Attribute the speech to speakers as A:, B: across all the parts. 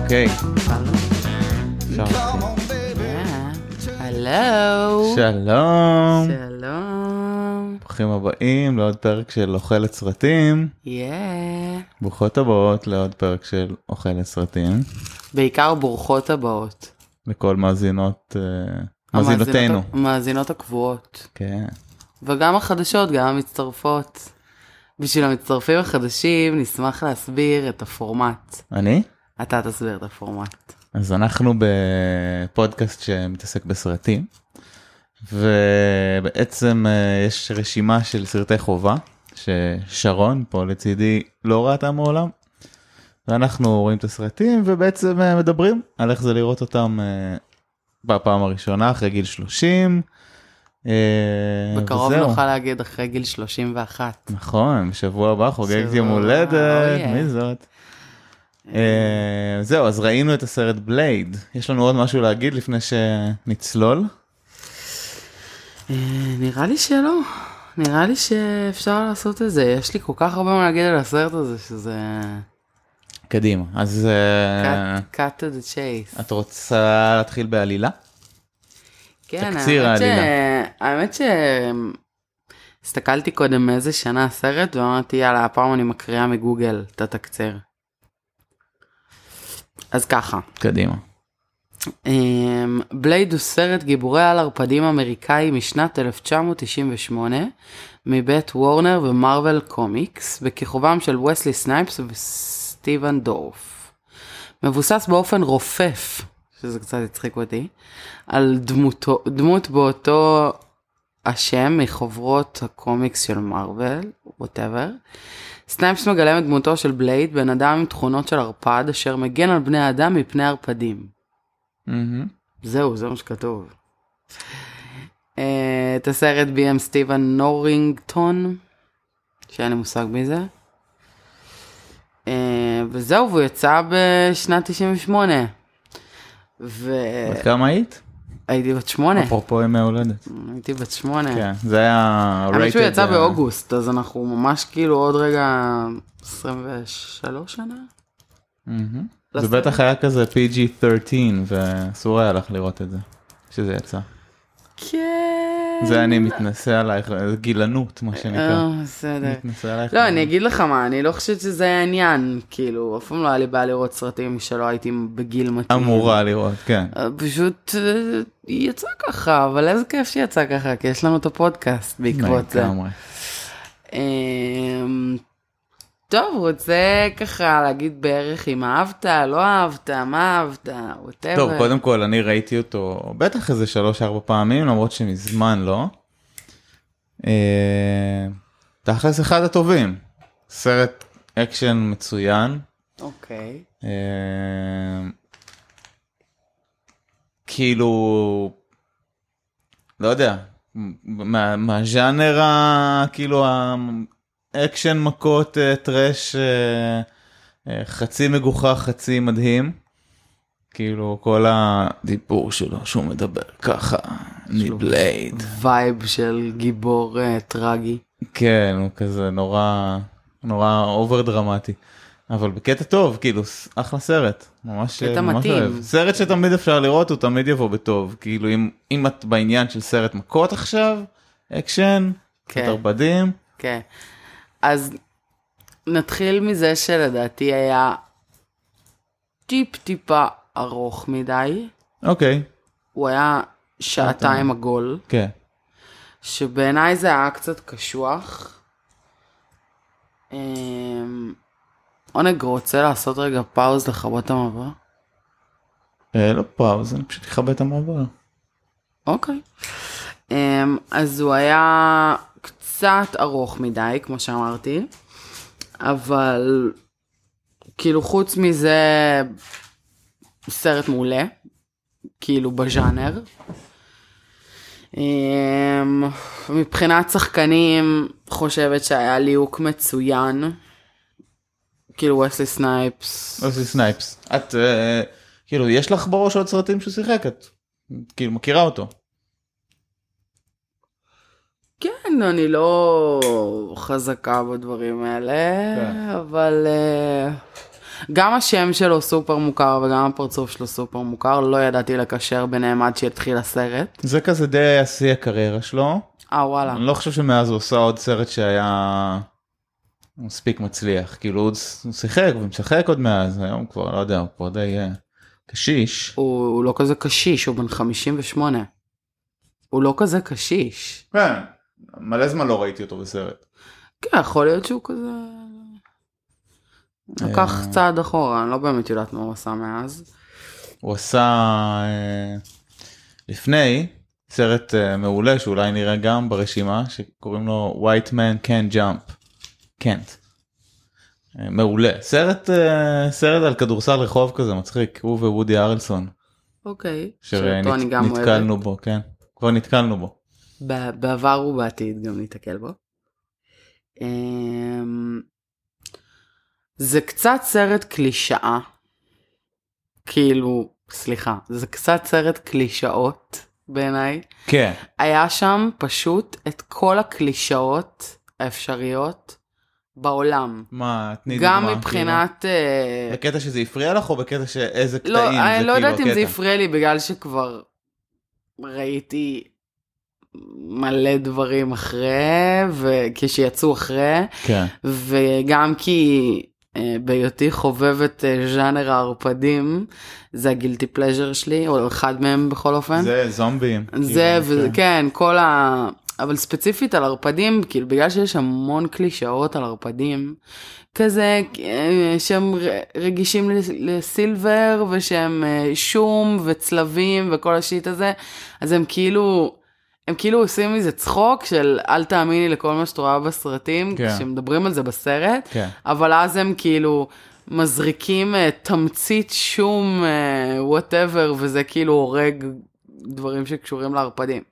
A: אוקיי, אפשר להתחיל.
B: אה, הלו.
A: שלום,
B: שלום.
A: ברוכים הבאים לעוד פרק של אוכלת סרטים.
B: יא.
A: ברוכות הבאות לעוד פרק של אוכלת סרטים.
B: בעיקר ברוכות הבאות.
A: לכל מאזינות, אה, מאזינותינו.
B: המאזינות- המאזינות הקבועות.
A: כן,
B: וגם החדשות, גם המצטרפות. בשביל המצטרפים החדשים נשמח להסביר את הפורמט.
A: אני?
B: אתה תסביר את הפורמט.
A: אז אנחנו בפודקאסט שמתעסק בסרטים, ובעצם אה, יש רשימה של סרטי חובה, ששרון פה לצידי לא ראתה מעולם, ואנחנו רואים את הסרטים ובעצם אה, מדברים על איך זה לראות אותם אה, בפעם הראשונה אחרי גיל 30. אה,
B: בקרוב
A: וזהו.
B: נוכל להגיד אחרי גיל 31.
A: נכון, בשבוע הבא חוגגת
B: שבוע,
A: יום הולדת,
B: אוי.
A: מי זאת? אה, זהו, אז ראינו את הסרט בלייד. יש לנו עוד משהו להגיד לפני שנצלול?
B: אה, נראה לי שלא. נראה לי שאפשר לעשות את זה. יש לי כל כך הרבה מה להגיד על הסרט הזה, שזה...
A: קדימה. אז אה,
B: cut- cut to the chase.
A: את רוצה להתחיל בעלילה?
B: כן,
A: תקציר
B: האמת ש-
A: העלילה.
B: האמת ש... הסתכלתי קודם מאיזה שנה הסרט ואמרתי יאללה הפעם אני מקריאה מגוגל את התקציר. אז ככה,
A: קדימה.
B: אמ, בלייד הוא סרט גיבורי על ערפדים אמריקאי משנת 1998 מבית וורנר ומרוויל קומיקס בכיכובם של וסלי סנייפס וסטיבן דורף. מבוסס באופן רופף, שזה קצת הצחיק אותי, על דמותו, דמות באותו השם מחוברות הקומיקס של מארוול, ווטאבר. סנייפס מגלם את דמותו של בלייד, בן אדם עם תכונות של ערפד, אשר מגן על בני האדם מפני ערפדים.
A: מהמם.
B: זהו, זה מה שכתוב. אה, את הסרט ביים סטיבן נורינגטון, שאין לי מושג מי זה. אה, וזהו, והוא יצא בשנת 98.
A: בת
B: והייתי
A: כמה היית?
B: בת שמונה.
A: אפרופו ימי הולדת.
B: הייתי בת שמונה.
A: כן, זה היה...
B: אה. האמת שהוא
A: rated,
B: יצא
A: אה,
B: באוגוסט, אז אנחנו ממש כאילו עוד רגע 23 שנה?
A: מהמם. זה
B: לסרט.
A: בטח היה כזה PG-13 ואסור היה לך לראות את זה, שזה יצא.
B: כן.
A: זה אני מתנשא עלייך, זה גילנות מה שנקרא.
B: אה, בסדר.
A: מתנשא עלייך.
B: לא, אני אגיד לך מה, אני לא חושבת שזה העניין, כאילו, אף פעם לא היה לי בעיה לראות סרטים שלא הייתי בגיל מתאים.
A: אמורה לראות, כן.
B: אה, פשוט אה, יצא ככה, אבל איזה כיף שיצא ככה, כי יש לנו את הפודקאסט בעקבות זה.
A: כן, לגמרי.
B: אמ, טוב, רוצה ככה להגיד בערך אם אהבת, לא אהבת, מה אהבת, ווטאבר.
A: טוב, קודם כל, אני ראיתי אותו בטח איזה שלוש-ארבע פעמים, למרות שמזמן לא. אה, תכלס אחד הטובים. סרט אקשן מצוין.
B: אוקיי.
A: אה, אמ, כאילו, לא יודע, מה- מהז'אנר ה... כאילו האקשן מכות אה, טרש אה, אה, חצי מגוחך חצי מדהים. כאילו כל הדיבור שלו שהוא מדבר ככה, אני
B: לו-
A: בלייד.
B: וייב של גיבור אה, טרגי.
A: כן, הוא כזה נורא, נורא אובר דרמטי. אבל בקטע טוב, כאילו, ס- אחלה סרט. ממש,
B: קטע
A: ממש
B: מתאים.
A: אוהב. סרט שתמיד אפשר לראות, הוא תמיד יבוא בטוב. כאילו, אם, אם את בעניין של סרט מכות עכשיו, אקשן, קצת
B: כן.
A: ערפדים,
B: כן. אז נתחיל מזה שלדעתי היה טיפ טיפה ארוך מדי.
A: אוקיי,
B: הוא היה שעתיים עגול,
A: כן.
B: שבעיניי זה היה קצת קשוח. אמ, עונג רוצה לעשות רגע פאוז לכבות את המעבר?
A: אה, לא פאוז, אני פשוט אכבה את המעבר.
B: אוקיי. אמ, אז הוא היה קצת ארוך מדי, כמו שאמרתי, אבל כאילו חוץ מזה, סרט מעולה, כאילו בז'אנר. אמ, מבחינת שחקנים, חושבת שהיה ליהוק מצוין. כאילו וסלי סנייפס.
A: עושה סנייפס. את, אה, כאילו, יש לך בראש עוד סרטים שהוא שיחק, את כאילו מכירה אותו.
B: כן, אני לא חזקה בדברים האלה,
A: כן.
B: אבל אה, גם השם שלו סופר מוכר וגם הפרצוף שלו סופר מוכר, לא ידעתי לקשר ביניהם עד שהתחיל הסרט.
A: זה כזה די היה שיא הקריירה שלו.
B: אה וואלה.
A: אני לא חושב שמאז הוא עשה עוד סרט שהיה מספיק מצליח. כאילו הוא הוא שיחק ומשחק עוד מאז, היום כבר, לא יודע, הוא כבר די אה, קשיש.
B: הוא, הוא לא כזה קשיש, הוא בן 58. הוא לא כזה קשיש.
A: כן, מלא זמן לא ראיתי אותו בסרט.
B: כן, יכול להיות שהוא כזה... לקח צעד אחורה, אני לא באמת יודעת מה הוא עשה מאז.
A: הוא עשה אה, לפני סרט אה, מעולה שאולי נראה גם ברשימה שקוראים לו White Man Can Jump. קנט. אה, מעולה. סרט אה, סרט על כדורסל רחוב כזה מצחיק הוא וודי ארלסון
B: אוהבת. אוקיי. שאותו אני גם אוהבת.
A: שנתקלנו בו כן כבר נתקלנו בו.
B: ב- בעבר ובעתיד גם ניתקל בו. אמ, זה קצת סרט קלישאה. כאילו, סליחה, זה קצת סרט קלישאות בעיניי.
A: כן
B: היה שם פשוט את כל הקלישאות האפשריות בעולם.
A: מה תני דוגמה.
B: גם
A: כאילו.
B: מבחינת... אה,
A: בקטע שזה הפריע לך או בקטע שאיזה קטעים
B: לא, אני לא
A: כאילו
B: יודעת אם זה
A: הקטע?
B: הפריע לי בגלל שכבר ראיתי מלא דברים אחרי, וכשיצאו אחרי,
A: כן.
B: וגם כי אה, בהיותי חובבת אה, ז'אנר הערפדים, זה הגילטי פלז'ר שלי, או אחד מהם בכל אופן.
A: זה זומבים.
B: כן. זה,
A: כאילו,
B: ו-
A: כן.
B: כן, כל ה... אבל ספציפית על ערפדים, כאילו בגלל שיש המון קלישאות על ערפדים, כזה אה, שהם ר- רגישים לס- לסילבר ושהם אה, שום וצלבים וכל השיט הזה, אז הם כאילו, הם כאילו עושים מזה צחוק של אל תאמיני לכל מה שאת רואה בסרטים,
A: כן.
B: כשמדברים על זה בסרט,
A: כן.
B: אבל אז הם כאילו מזריקים אה, תמצית שום וואטאבר וזה כאילו הורג דברים שקשורים לערפדים.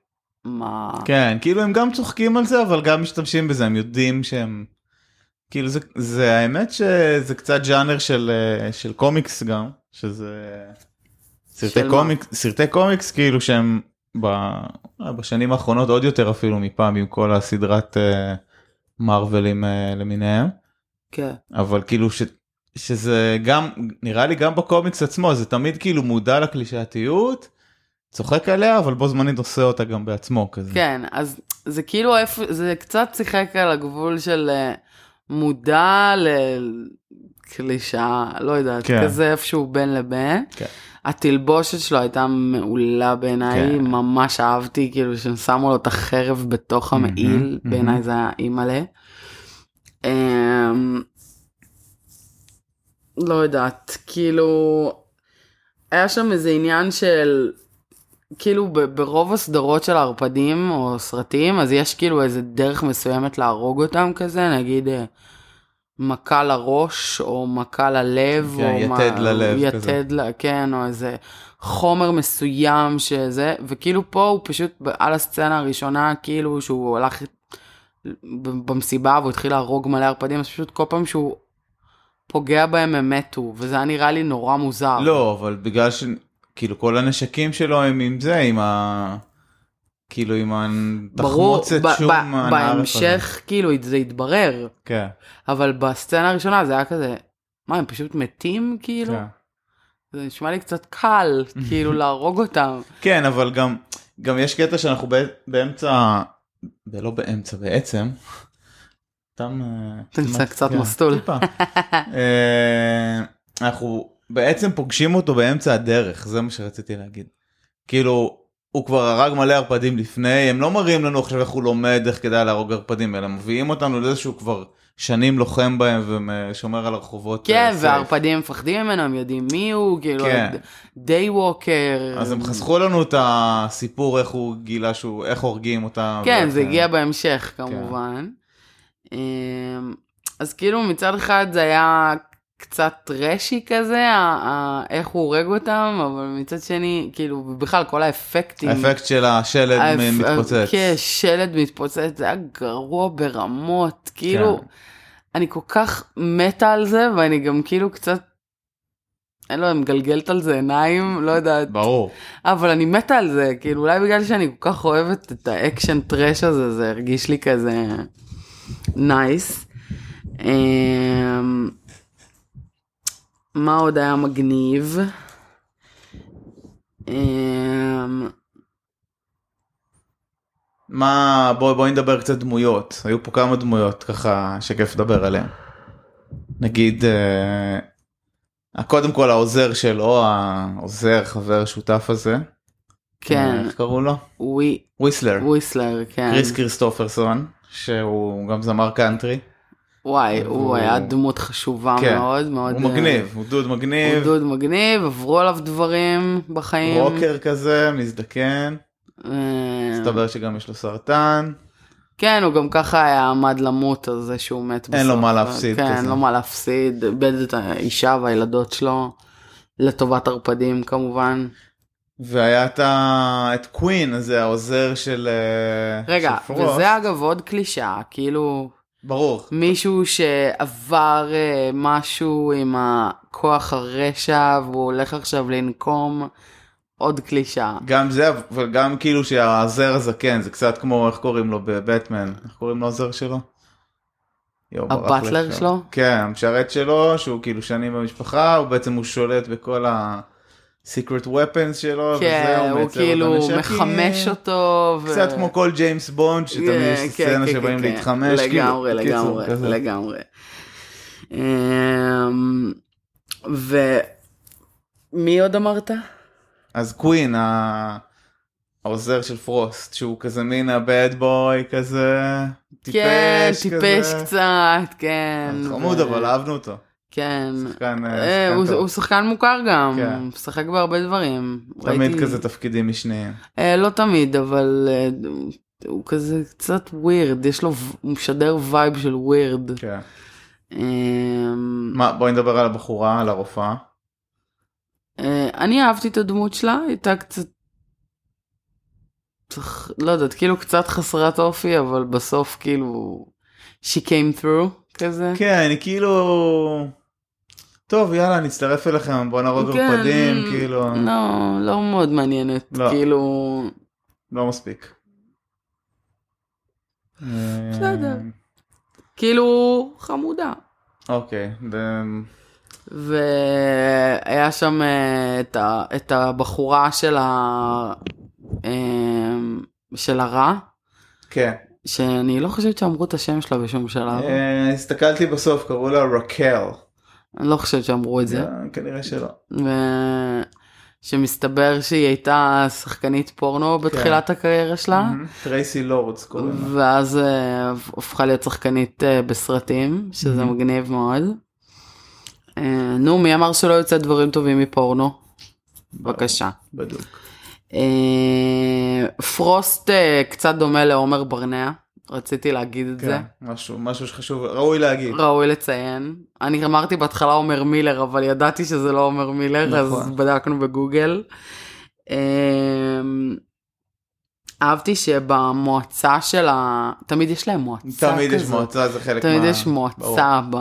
B: מה?
A: כן, כאילו הם גם צוחקים על זה, אבל גם משתמשים בזה, הם יודעים שהם... כאילו זה, זה האמת שזה קצת ג'אנר של, אה, של קומיקס גם, שזה... סרטי
B: של מה?
A: קומיקס, סרטי קומיקס כאילו שהם ב, אה, בשנים האחרונות עוד יותר אפילו מפעם עם כל הסדרת אה, מרבלים אה, למיניהם,
B: כן.
A: אבל כאילו ש, שזה גם, נראה לי גם בקומיקס עצמו, זה תמיד כאילו מודע לקלישאתיות, צוחק עליה, אבל בו זמנית עושה אותה גם בעצמו כזה.
B: כן, אז זה כאילו איפה, זה קצת שיחק על הגבול של אה, מודע לקלישאה, לא יודעת,
A: כן.
B: כזה איפשהו בין לבין.
A: כן.
B: התלבושת שלו הייתה מעולה בעיניי,
A: כן.
B: ממש אהבתי, כאילו שהם שמו לו את החרב בתוך
A: Mm-hmm,
B: המעיל,
A: מהמם.
B: בעיניי זה היה אימא'לה. אמ, לא יודעת, כאילו, היה שם איזה עניין של, כאילו ב- ברוב הסדרות של הערפדים או סרטים, אז יש כאילו איזה דרך מסוימת להרוג אותם כזה, נגיד אה, מכה לראש, או מכה ללב,
A: כן,
B: או
A: יתד ללב
B: יתד
A: כזה.
B: ל... כן, או איזה חומר מסוים שזה, וכאילו פה הוא פשוט ב- על הסצנה הראשונה, כאילו שהוא הלך ב- במסיבה והוא התחיל להרוג מלא ערפדים, אז פשוט כל פעם שהוא פוגע בהם הם מתו, וזה היה נראה לי נורא מוזר.
A: לא, אבל בגלל ש... כאילו כל הנשקים שלו הם עם זה, עם ה... כאילו עם
B: ברור,
A: התחמוצת
B: ב-
A: שום
B: ב-
A: הנערף הזה.
B: בהמשך כאילו זה התברר,
A: כן,
B: אבל בסצנה הראשונה זה היה כזה, מה הם פשוט מתים כאילו?
A: כן.
B: זה נשמע לי קצת קל כאילו להרוג אותם.
A: כן, אבל גם, גם יש קטע שאנחנו בא- באמצע, לא באמצע בעצם, סתם... אה,
B: תמצא
A: טיפה-
B: קצת
A: כן,
B: מסלול.
A: טיפה. אה, אנחנו בעצם פוגשים אותו באמצע הדרך, זה מה שרציתי להגיד. כאילו, הוא כבר הרג מלא ערפדים לפני, הם לא מראים לנו עכשיו איך הוא לומד איך כדאי להרוג ערפדים, אלא מביאים אותנו לזה שהוא כבר שנים לוחם בהם ושומר על הרחובות.
B: כן,
A: אה, safe.
B: והערפדים מפחדים ממנו, הם יודעים מי הוא, כאילו,
A: כן.
B: דיי ווקר.
A: אז הם חסכו לנו את הסיפור איך הוא גילה שהוא, איך הורגים אותם.
B: כן,
A: ואיך,
B: זה
A: אה,
B: הגיע בהמשך כמובן. אמ, אז כאילו מצד אחד זה היה קצת רשי כזה, ה- ה- איך הוא הורג אותם, אבל מצד שני, כאילו בכלל כל האפקטים.
A: האפקט של השלד
B: האפ-
A: מ- מתפוצץ.
B: כן, שלד מתפוצץ, זה היה גרוע ברמות, כאילו,
A: כן.
B: אני כל כך מתה על זה, ואני גם כאילו קצת, אין לו, מגלגלת על זה עיניים, לא יודעת.
A: ברור.
B: אבל אני מתה על זה, כאילו אולי בגלל שאני כל כך אוהבת את האקשן טרש הזה, זה הרגיש לי כזה נייס. אמ, מה עוד היה מגניב? אמ,
A: מה, בואי בואי נדבר קצת דמויות. היו פה כמה דמויות ככה שכיף לדבר עליהן. נגיד, אה, קודם כל העוזר שלו, העוזר, חבר שותף הזה. אה,
B: כן,
A: איך קראו לו?
B: ווי-
A: וויסלר.
B: וויסלר, כן.
A: קריס קריסטופרסון, שהוא גם זמר קאנטרי.
B: וואי, הוא
A: הוא-
B: היה דמות חשובה
A: כן.
B: מאוד, מאוד...
A: הוא
B: אה,
A: מגניב, הוא דוד
B: הוא
A: מגניב,
B: דוד מגניב, עברו עליו דברים בחיים.
A: רוקר כזה, מזדקן.
B: אה,
A: מסתבר שגם יש לו סרטן.
B: כן, הוא גם ככה היה עמד למות על זה שהוא מת בסוף.
A: אין לו מה להפסיד
B: כן,
A: כזה.
B: אין לו מה להפסיד. איבד את האישה והילדות שלו, לטובת ערפדים כמובן.
A: והיה את, ה... את קווין, אז זה העוזר של... אה,
B: רגע,
A: של פרוסט.
B: וזה אגב עוד קלישאה, כאילו,
A: ברור.
B: מישהו שעבר אה, משהו עם הכוח הרשע והוא הולך עכשיו לנקום, עוד קלישאה.
A: גם זה, אבל גם כאילו שהעוזר הזקן, זה קצת כמו, איך קוראים לו בבטמן? איך קוראים לעוזר שלו? יו, ברח לי
B: הבטלר
A: עכשיו.
B: שלו?
A: כן, המשרת שלו, שהוא כאילו שנים במשפחה, הוא בעצם הוא שולט בכל ה... secret weapons שלו,
B: כן,
A: וזהו,
B: הוא
A: מייצר
B: כאילו
A: אותו נשקים.
B: מחמש אותו. ו-
A: קצת כמו כל ג'יימס בונד, שתמיד יש
B: כן,
A: את הסצנה
B: כן,
A: שבאים
B: כן, כן.
A: להתחמש,
B: לגמרי,
A: כאילו, קיצור,
B: לגמרי,
A: כזה.
B: לגמרי. אמ, ומי עוד אמרת?
A: אז קווין ה- העוזר של פרוסט שהוא כזה מין הבד בוי כזה טיפש
B: כן, טיפש
A: כזה. אה,
B: קצת, כן.
A: חמוד
B: ו-
A: אבל אהבנו אותו.
B: כן.
A: שחקן, אה,
B: אה,
A: שחקן
B: הוא-
A: טוב.
B: הוא שחקן מוכר גם,
A: כן.
B: הוא משחק בהרבה דברים.
A: תמיד
B: ראיתי-
A: כזה תפקידים משניים.
B: אה, לא תמיד, אבל אה, הוא כזה קצת ווירד, יש לו, ו- הוא משדר וייב של ווירד.
A: כן.
B: אמ,
A: מה בואי נדבר על הבחורה על הרופאה.
B: אה, אני אהבתי את הדמות שלה, היא הייתה קצת... צריך- לא יודעת, כאילו קצת חסרת אופי, אבל בסוף כאילו... She came through כזה.
A: כן היא כאילו. טוב יאללה נצטרף אליכם בוא נהרוג ערפדים
B: כן,
A: כאילו
B: לא, לא מאוד מעניינת.
A: לא.
B: כאילו...
A: לא מספיק.
B: בסדר.
A: אה,
B: כאילו חמודה.
A: אוקיי. ו-
B: והיה שם אה, את, ה... את הבחורה של ה... אה, של הרע,
A: כן.
B: שאני לא חושבת שאמרו את השם שלה בשום שלב.
A: אה, הסתכלתי בסוף קראו לה רקל.
B: אני לא חושבת שאמרו את זה.
A: אה, כנראה שלא.
B: ו- שמסתבר שהיא הייתה שחקנית פורנו בתחילת הקריירה שלה,
A: מהמם. טרייסי לורדס כן. Mm-hmm. קוראים לה.
B: ואז אה, הפכה להיות שחקנית אה, בסרטים, שזה
A: Mhm.
B: מגניב מאוד. אה, נו, מי אמר שלא יוצא דברים טובים מפורנו? בבקשה.
A: בדוק.
B: אה, פרוסט אה, קצת דומה לעומר ברנע, רציתי להגיד את זה. לא.
A: כן, משהו, משהו שחשוב, ראוי להגיד.
B: ראוי לציין. אני אמרתי בהתחלה עומר מילר, אבל ידעתי שזה לא עומר מילר, אז
A: נכון.
B: בדקנו בגוגל. אמ, אהבתי שבמועצה של ה... תמיד יש להם מועצה כזאת.
A: תמיד יש מועצה, זה חלק מה...
B: תמיד יש
A: ברור.
B: מועצה ב...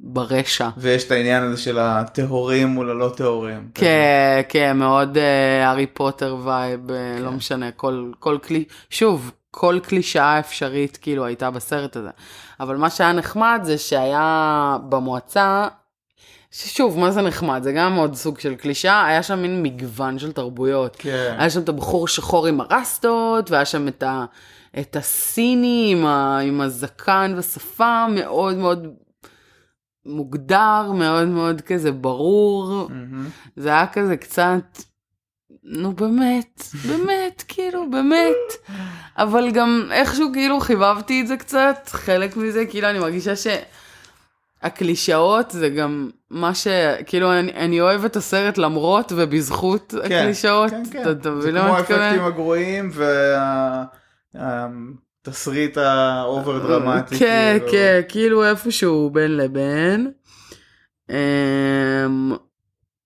B: ברשע.
A: ויש את העניין הזה של הטהורים מול הלא טהורים.
B: כן, כן, מאוד אה, הארי פוטר וייב, אה, לא משנה, כל, כל כלי, שוב, כל קלישאה אפשרית כאילו הייתה בסרט הזה. אבל מה שהיה נחמד זה שהיה במועצה, ששוב, מה זה נחמד? זה גם עוד סוג של קלישאה, היה שם מין מגוון של תרבויות.
A: כן.
B: היה שם את הבחור שחור עם הרסטות, והיה שם את, ה, את הסיני עם, ה, עם הזקן והשפה, מאוד מאוד מוגדר, מאוד מאוד כזה ברור.
A: מהמם.
B: זה היה כזה קצת, נו באמת, באמת, כאילו, באמת. אבל גם איכשהו כאילו חיבבתי את זה קצת, חלק מזה, כאילו, אני מרגישה שהקלישאות זה גם מה ש... כאילו, אני, אני אוהב את הסרט למרות ובזכות
A: כן,
B: הקלישאות.
A: כן, כן.
B: אתה-
A: זה
B: אתה מבין למה
A: כמו
B: אני מתכוונת?
A: האפקטים הגרועים והתסריט האובר דרמטי.
B: כן,
A: כאילו.
B: כן, כאילו איפשהו בין לבין. אמ,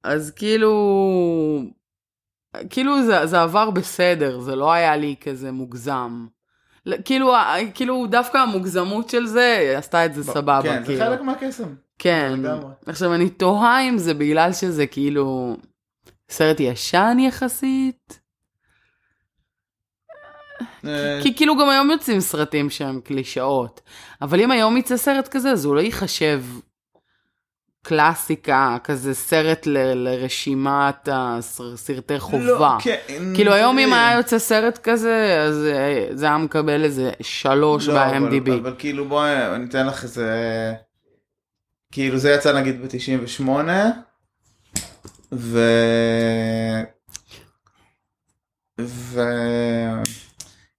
B: אז כאילו, כאילו זה, זה עבר בסדר, זה לא היה לי כזה מוגזם. לא, כאילו, ה- כאילו דווקא המוגזמות של זה עשתה את זה סבבה,
A: כן, זה
B: כאילו.
A: חלק מהקסם.
B: כן.
A: לגמרי.
B: עכשיו אני תוהה אם זה בגלל שזה כאילו סרט ישן יחסית.
A: אה,
B: כי כאילו גם היום יוצאים סרטים שהם קלישאות. אבל אם היום יצא סרט כזה, אז הוא לא ייחשב קלאסיקה, כזה סרט ל- לרשימת הסר- סרטי חובה.
A: לא, כן,
B: כאילו היום אם
A: כן.
B: היה יוצא סרט כזה, אז אה, זה היה מקבל איזה שלוש
A: לא, אבל-
B: ב-MDB.
A: אבל כאילו בואי אני אתן לך איזה כאילו זה יצא נגיד ב-98 ו... ו...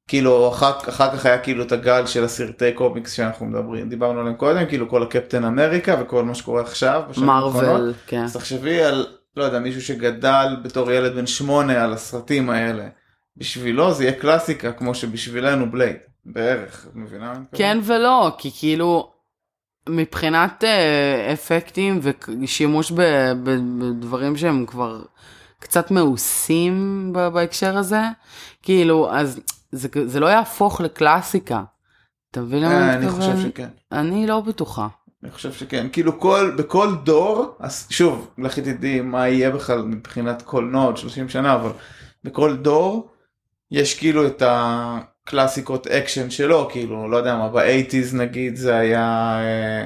A: כאילו אחר, אחר כך היה כאילו את הגל של הסרטי קומיקס שאנחנו מדברים דיברנו עליהם קודם כאילו כל הקפטן אמריקה וכל מה שקורה עכשיו. בשנים האחרונות.
B: מרוויל, כן.
A: אז תחשבי על לא יודע מישהו שגדל בתור ילד בן שמונה על הסרטים האלה. בשבילו זה יהיה קלאסיקה כמו שבשבילנו בלייד בערך את מבינה? מה אני מתכוון?
B: כן ולא, כי כאילו, מבחינת אה, אפקטים ושימוש ב- ב- בדברים שהם כבר קצת מאוסים ב- בהקשר הזה, כאילו, אז זה, זה לא יהפוך לקלאסיקה. אתה מבין למה
A: אה,
B: אני
A: אני
B: לא
A: חושב
B: מתכוון?
A: שכן.
B: אני לא בטוחה.
A: אני חושב שכן כאילו כל בכל דור אז שוב לכי תדעי מה יהיה בכלל מבחינת קולנוע עוד 30 שנה אבל בכל דור יש כאילו את הקלאסיקות אקשן שלו כאילו לא יודע מה באייטיז נגיד זה היה. אה,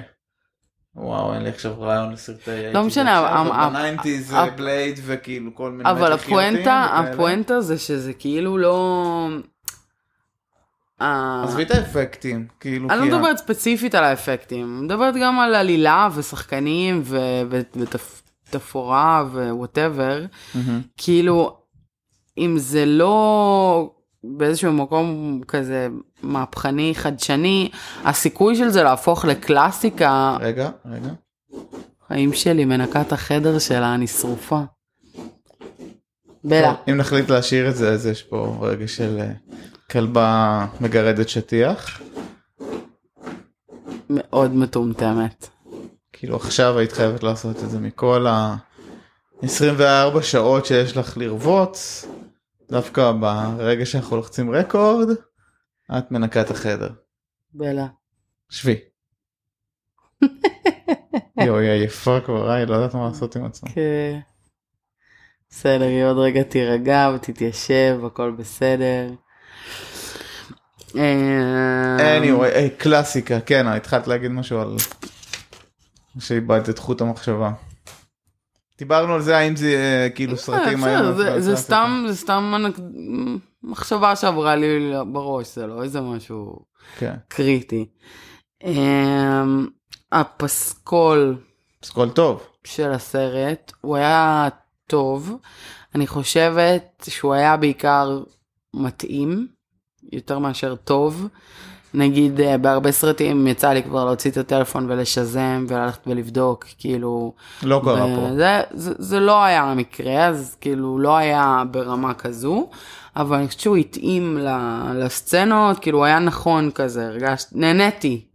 A: וואו אין לי עכשיו רעיון לסרטי אייטיז.
B: לא משנה, אבל-
A: בניינטיז
B: אבל-
A: זה בלייד וכאילו כל מיני.
B: אבל
A: מתח חיוטים
B: הפואנטה,
A: וכאלה.
B: הפואנטה זה שזה כאילו לא... אה,
A: עזבי את האפקטים כאילו.
B: אני לא
A: כי ה-
B: מדברת ספציפית על האפקטים, אני מדברת גם על עלילה ושחקנים ותפאורה ווואטאבר.
A: מהמם.
B: כאילו, אם זה לא באיזשהו מקום כזה מהפכני, חדשני, הסיכוי של זה להפוך לקלאסיקה,
A: רגע רגע.
B: חיים שלי מנקה את החדר שלה, אני שרופה. בלה.
A: אם נחליט להשאיר את זה אז יש פה רגע של אה, כלבה מגרדת שטיח.
B: מאוד מטומטמת.
A: כאילו עכשיו היית חייבת לעשות את זה מכל ה 24 שעות שיש לך לרבוץ. דווקא ברגע שאנחנו לוחצים רקורד את מנקה את החדר.
B: בלה.
A: שבי. יואו היא עייפה כבר היא לא יודעת מה לעשות עם עצמה.
B: כן. בסדר, היא עוד רגע תירגע ותתיישב, הכל בסדר. אמ,
A: anyway, היי, קלאסיקה כן התחלת להגיד משהו על שאיבדת את חוט המחשבה. דיברנו על זה האם זה אה, כאילו סרטים
B: בסדר,
A: היום.
B: זה-
A: בכלל
B: זה
A: קלאסיקה.
B: סתם, זה סתם אנק- מחשבה שעברה לי בראש, זה לא איזה משהו
A: כן.
B: קריטי. אמ, הפסקול
A: פסקול טוב.
B: של הסרט, הוא היה טוב. אני חושבת שהוא היה בעיקר מתאים, יותר מאשר טוב. נגיד אה, בהרבה סרטים יצא לי כבר להוציא את הטלפון ולשזם וללכת ולבדוק, כאילו...
A: לא קרה פה.
B: זה, זה, זה לא היה המקרה, אז כאילו לא היה ברמה כזו, אבל אני חושבת שהוא התאים ל- לסצנות, כאילו הוא היה נכון כזה, הרגשתי, נהניתי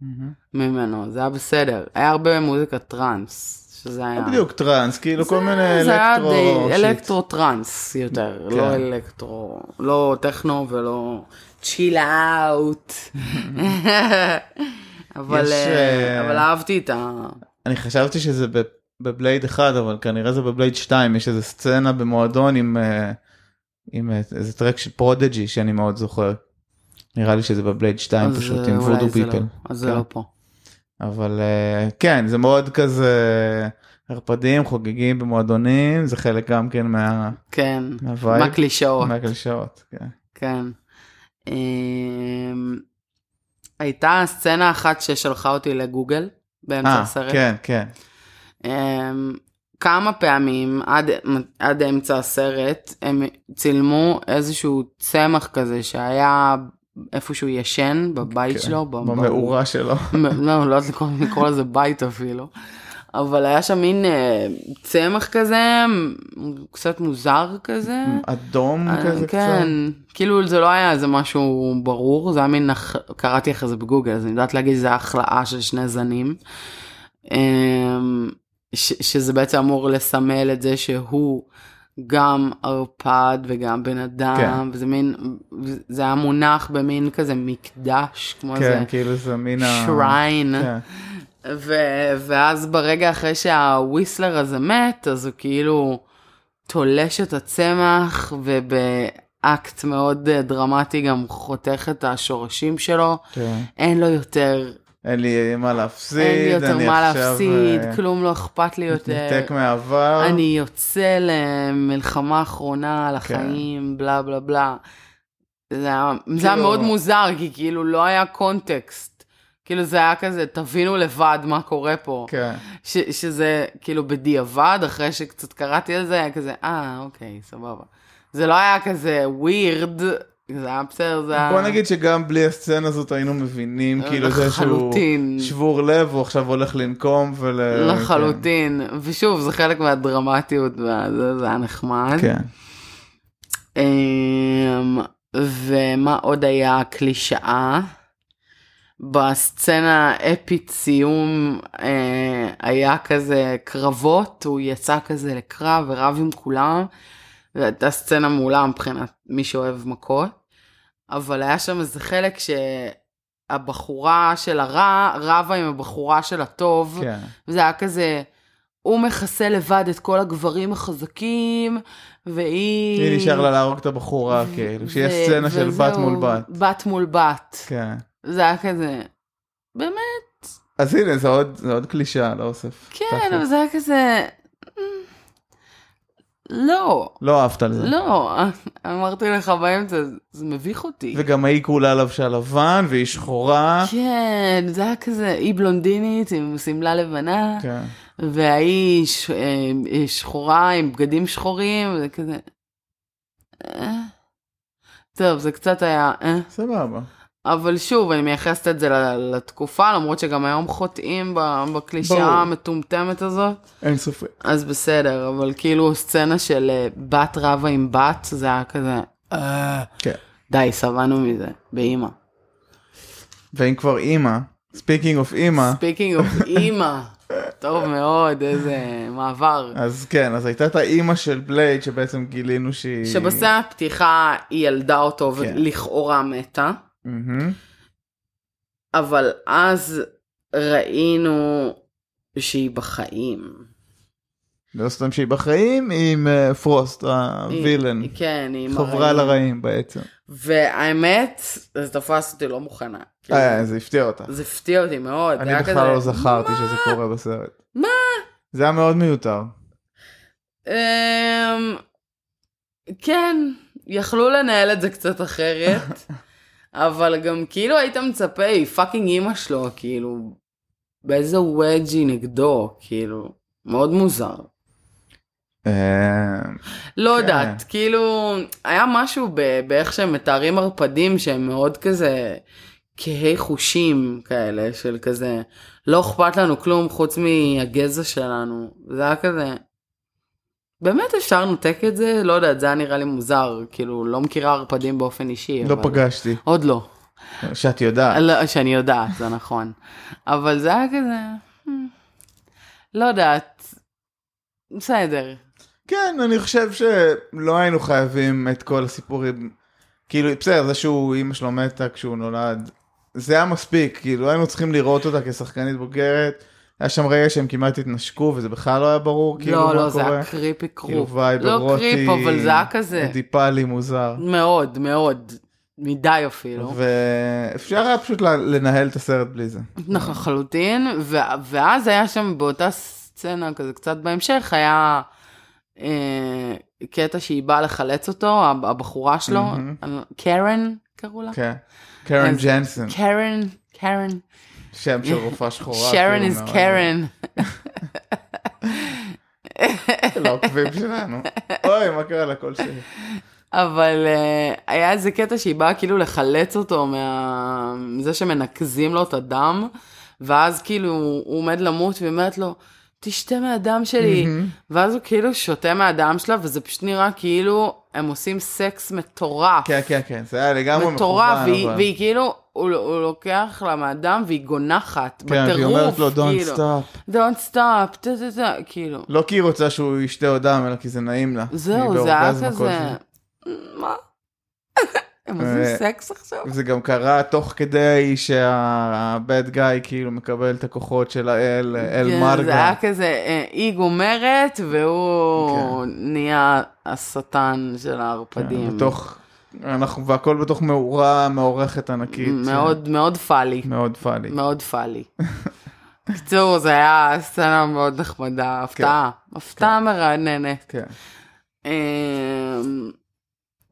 B: ממנו, זה היה בסדר. היה הרבה מוזיקה טראנס, שזה היה...
A: לא בדיוק טראנס כאילו כל מיני
B: אה. זה היה
A: אלקטרו.
B: די-
A: שיט.
B: אלקטרו טראנס יותר,
A: כן.
B: לא אלקטרו, לא טכנו ולא צ'יל אאוט. אבל
A: יש,
B: אה,
A: אה,
B: אבל אהבתי את ה...
A: אני חשבתי שזה ב- בבלייד 1 אבל כנראה זה בבלייד 2 יש איזה סצנה במועדון עם אה, עם אה, איזה טרק של פרודג'י שאני מאוד זוכר. נראה לי שזה בבלייד 2
B: אז,
A: פשוט
B: אה,
A: עם
B: אולי
A: וודו
B: זה לא-
A: פיפל.
B: אז זה
A: כן.
B: לא פה.
A: אבל אה, כן זה מאוד כזה ערפדים חוגגים במועדונים זה חלק גם כן מה-
B: כן.
A: מהווייב.
B: מהקלישאות,
A: מהקלישאות. כן.
B: כן. אמ, הייתה סצנה אחת ששלחה אותי לגוגל באמצע
A: אה,
B: הסרט.
A: כן כן.
B: אמ, כמה פעמים עד, עד אמצע הסרט הם צילמו איזשהו צמח כזה שהיה איפשהו ישן בבית
A: כן.
B: שלו, ב-
A: במאורה שלו.
B: מ- לא, לא יודעת לקרוא- לקרוא לזה בית אפילו. אבל היה שם מין אה, צמח כזה, מ- קצת מוזר כזה.
A: אדום כזה
B: אה, כן,
A: קצת.
B: כאילו זה לא היה איזה משהו ברור, זה היה מין, הח- קראתי אחרי זה בגוגל, אז אני יודעת להגיד שזה היה החלאה של שני זנים. אמ, ש- שזה בעצם אמור לסמל את זה שהוא גם ערפד וגם בן אדם,
A: כן.
B: וזה מין, זה היה מונח במין כזה מקדש, כמו
A: כן
B: איזה
A: כאילו זה מין ה...
B: שריין.
A: כן.
B: ו- ואז ברגע אחרי שהוויסלר הזה מת, אז הוא כאילו תולש את הצמח, ובאקט מאוד אה, דרמטי גם חותך את השורשים שלו.
A: כן.
B: אין לו יותר
A: אין לי מה להפסיד,
B: אין לי יותר
A: אני
B: מה
A: עכשיו,
B: להפסיד,
A: אה,
B: כלום לא אכפת לי יותר.
A: מתנתק מהעבר.
B: אני יוצא למלחמה אחרונה על
A: כן.
B: החיים, בלה בלה בלה. זה היה, זה היה
A: כאילו-
B: מאוד מוזר, כי כאילו לא היה קונטקסט. כאילו זה היה כזה, תבינו לבד מה קורה פה.
A: כן.
B: ש, שזה כאילו בדיעבד, אחרי שקצת קראתי על זה, היה כזה, אה, אוקיי, סבבה. זה לא היה כזה ווירד, זה היה בסדר, זה היה...
A: בוא נגיד שגם בלי הסצנה הזאת היינו מבינים כאילו זה שהוא
B: לחלוטין.
A: שבור לב, הוא עכשיו הולך לנקום ול... כן.
B: לחלוטין. ושוב, זה חלק מהדרמטיות, וזה זה היה
A: כן.
B: נחמד.
A: כן.
B: אמ, ומה עוד היה קלישאה? בסצנה אפית סיום אה, היה כזה קרבות, הוא יצא כזה לקרב ורב עם כולם, והייתה סצנה מעולה מבחינת מי שאוהב מכות, אבל היה שם איזה חלק שהבחורה של הרע רבה עם הבחורה של הטוב,
A: כן.
B: וזה היה כזה, הוא מכסה לבד את כל הגברים החזקים, והיא...
A: היא נשאר לה להרוג את הבחורה, כאילו, שיהיה
B: ו-
A: סצנה של בת
B: וזהו,
A: מול בת.
B: בת מול בת.
A: כן.
B: זה היה כזה, באמת,
A: אז הנה, זה עוד- זה עוד קלישאה לאוסף.
B: כן,
A: תכלס.
B: אבל זה היה כזה, "אמ, לא,
A: לא אהבת על זה.
B: לא, אמרתי לך באמצע, זה מביך אותי.
A: וגם ההיא כולה לבשה לבן, והיא שחורה.
B: כן, זה היה כזה, היא בלונדינית עם שמלה לבנה,
A: כן.
B: וההיא ש- אה, אה, שחורה עם בגדים שחורים, וזה כזה... אה. טוב, זה קצת היה... אה.
A: סבבה.
B: אבל שוב, אני מייחסת את זה ל- לתקופה, למרות שגם היום חוטאים ב- בקלישאה
A: ברור.
B: המטומטמת הזאת,
A: אין ספק.
B: אז בסדר, אבל כאילו סצנה של אה, בת רבה עם בת, זה היה כזה... אה.
A: כן.
B: די, שבענו מזה, באימא.
A: ואם כבר אימא, ספיקינג אוף אימא,
B: ספיקינג אוף אימא, טוב מאוד, איזה מעבר.
A: אז כן, אז הייתה את האימא של בלייד, שבעצם גילינו שהיא...
B: שבסצנה הפתיחה היא ילדה אותו
A: כן.
B: ולכאורה מתה,
A: מהמם.
B: אבל אז ראינו שהיא בחיים.
A: לא סתם שהיא בחיים, היא עם אה, פרוסט, הווילן.
B: היא- כן, היא עם
A: חברה
B: הרעים.
A: לרעים בעצם.
B: והאמת, זה תפס אותי לא מוכנה. כאילו,
A: אה, זה הפתיע אותה.
B: זה הפתיע אותי מאוד.
A: אני
B: זה היה כזה,
A: בכלל לא זכרתי שזה קורה בסרט.
B: מה?
A: זה היה מאוד מיותר.
B: אמ, כן, יכלו לנהל את זה קצת אחרת, אבל גם כאילו היית מצפה, היא פאקינג אימא שלו, כאילו, באיזה וודג' היא נגדו, כאילו, מאוד מוזר.
A: אה,
B: לא
A: כן.
B: יודעת, כאילו, היה משהו ב- באיך שהם מתארים ערפדים שהם מאוד כזה כהי חושים כאלה, של כזה, לא אכפת לנו כלום חוץ מהגזע שלנו. זה היה כזה, באמת אפשר לנתק את זה? לא יודעת, זה היה נראה לי מוזר, כאילו, לא מכירה ערפדים באופן אישי.
A: לא
B: כן, אבל-
A: פגשתי,
B: עוד לא.
A: שאת יודעת.
B: לא, שאני יודעת, זה נכון. אבל זה היה כזה, "Hmm, לא יודעת, בסדר.
A: כן, אני חושב שלא היינו חייבים את כל הסיפורים. כאילו, בסדר, זה שהוא, אימא שלו מתה כשהוא נולד, זה היה מספיק, כאילו, היינו צריכים לראות אותה כשחקנית בוגרת. היה שם רגע שהם כמעט התנשקו, וזה בכלל לא היה ברור, כאילו, מה
B: לא,
A: קורה.
B: לא, זה היה קריפי
A: כאילו,
B: קרוב.
A: וייב
B: לא
A: אירוטי,
B: קריפ, אבל זה היה כזה.
A: אדיפלי מוזר.
B: מאוד, מאוד. מדי אפילו.
A: ואפשר היה פשוט ל- לנהל את הסרט בלי זה.
B: נכון, לחלוטין. ו- ואז היה שם באותה סצנה, כזה קצת בהמשך, היה אה, קטע שהיא באה לחלץ אותו, הב- הבחורה שלו,
A: מהמם.
B: אני לא- קרן קראו לה?
A: כן. קרן
B: אז- כן.
A: ג'נסון,
B: קרן, קרן.
A: שם של רופאה שחורה.
B: שרן
A: כאילו,
B: איז
A: מאוד-
B: קרן.
A: לעוקבים לא, שלנו. אוי, מה קרה לקול שלי?
B: אבל אה, היה איזה קטע שהיא באה כאילו לחלץ אותו מה... מזה שמנקזים לו את הדם, ואז כאילו הוא עומד למות והיא אומרת לו, תשתה מהדם שלי.
A: מהמם.
B: ואז הוא כאילו שותה מהדם שלה, וזה פשוט נראה כאילו הם עושים סקס מטורף.
A: כן, כן, כן, זה היה לגמרי מכוון.
B: מטורף, והיא,
A: אבל-
B: והיא כאילו, הוא, הוא לוקח לה מהדם והיא גונחת
A: כן,
B: בטירוף,
A: והיא אומרת לו, don't
B: כאילו,
A: stop.
B: Don't stop, טה טה טה, כאילו.
A: לא כי היא רוצה שהוא ישתה עוד דם, אלא כי זה נעים לה.
B: זהו,
A: היא
B: זה היה
A: באורגזם
B: כזה...
A: כלשהו.
B: מה? הם עושים
A: אה,
B: סקס עכשיו?
A: זה גם קרה תוך כדי שה-bad guy כאילו מקבל את הכוחות של האל, אל
B: כן, זה
A: מרגה.
B: היה כזה, אה, היא גומרת והוא נהיה השטן של
A: כן,
B: הערפדים.
A: בתוך אנחנו והכל בתוך מאורה מעורכת ענקית.
B: מאוד מאוד פאלי.
A: מאוד פאלי.
B: מאוד פאלי. בקיצור, זה היה סצנה מאוד נחמדה, הפתעה, הפתעה מרעננת.
A: כן.
B: אמ,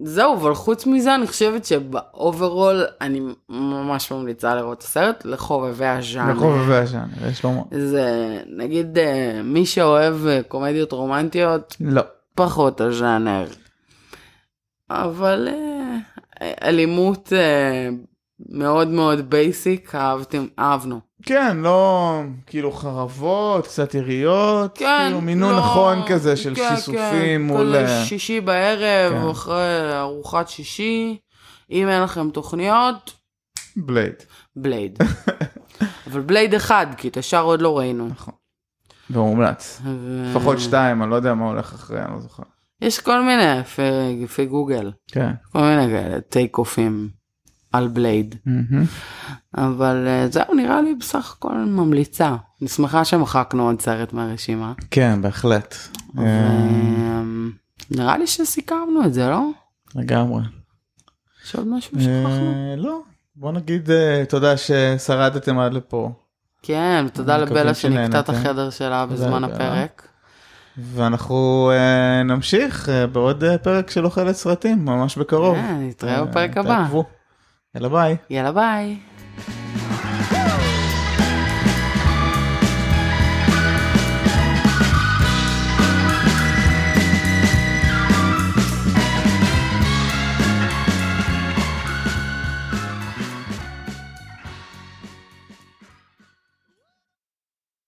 B: זהו, אבל חוץ מזה, אני חושבת שבאוברול, אני ממש ממליצה לראות את הסרט לחובבי הז'אנר.
A: לחובבי הז'אנר, יש לומר.
B: זה, נגיד, אה, מי שאוהב אה, קומדיות רומנטיות,
A: לא.
B: פחות הז'אנר. אבל אה, אלימות אה, מאוד מאוד בייסיק, אהבתם, אהבנו.
A: כן, לא כאילו חרבות, קצת יריות,
B: כן,
A: כאילו מינון
B: לא,
A: נכון כזה של
B: כן,
A: שיסופים
B: כן,
A: מול... אה,
B: כזה שישי בערב,
A: כן.
B: אחרי ארוחת שישי, אם אין לכם תוכניות,
A: בלייד.
B: בלייד. אבל בלייד אחד, כי את השאר עוד לא ראינו.
A: נכון. והוא מומלץ.
B: ו-
A: לפחות שתיים, אני לא יודע מה הולך אחרי, אני לא זוכר.
B: יש כל מיני פי- פי גוגל,
A: כן.
B: כל מיני כאלה טייק אופים על בלייד.
A: מהמם.
B: אבל אה, זהו, נראה לי בסך הכל ממליצה. אני שמחה שמחקנו עוד סרט מהרשימה.
A: כן, בהחלט. אה,
B: ו- אמ, נראה לי שסיכמנו את זה, לא?
A: לגמרי.
B: יש עוד משהו שכחנו?
A: אה, לא, בוא נגיד אה, תודה ששרדתם עד לפה.
B: כן, תודה
A: מקווים
B: לבלה שנקטע את
A: שנהנתם.
B: החדר שלה בזמן
A: לבלה.
B: הפרק.
A: ואנחנו אה, נמשיך אה, בעוד אה, פרק של אוכלת סרטים, ממש בקרוב.
B: כן, נתראה
A: אה,
B: בפרק הבא.
A: תעקבו. יאללה ביי.
B: יאללה ביי.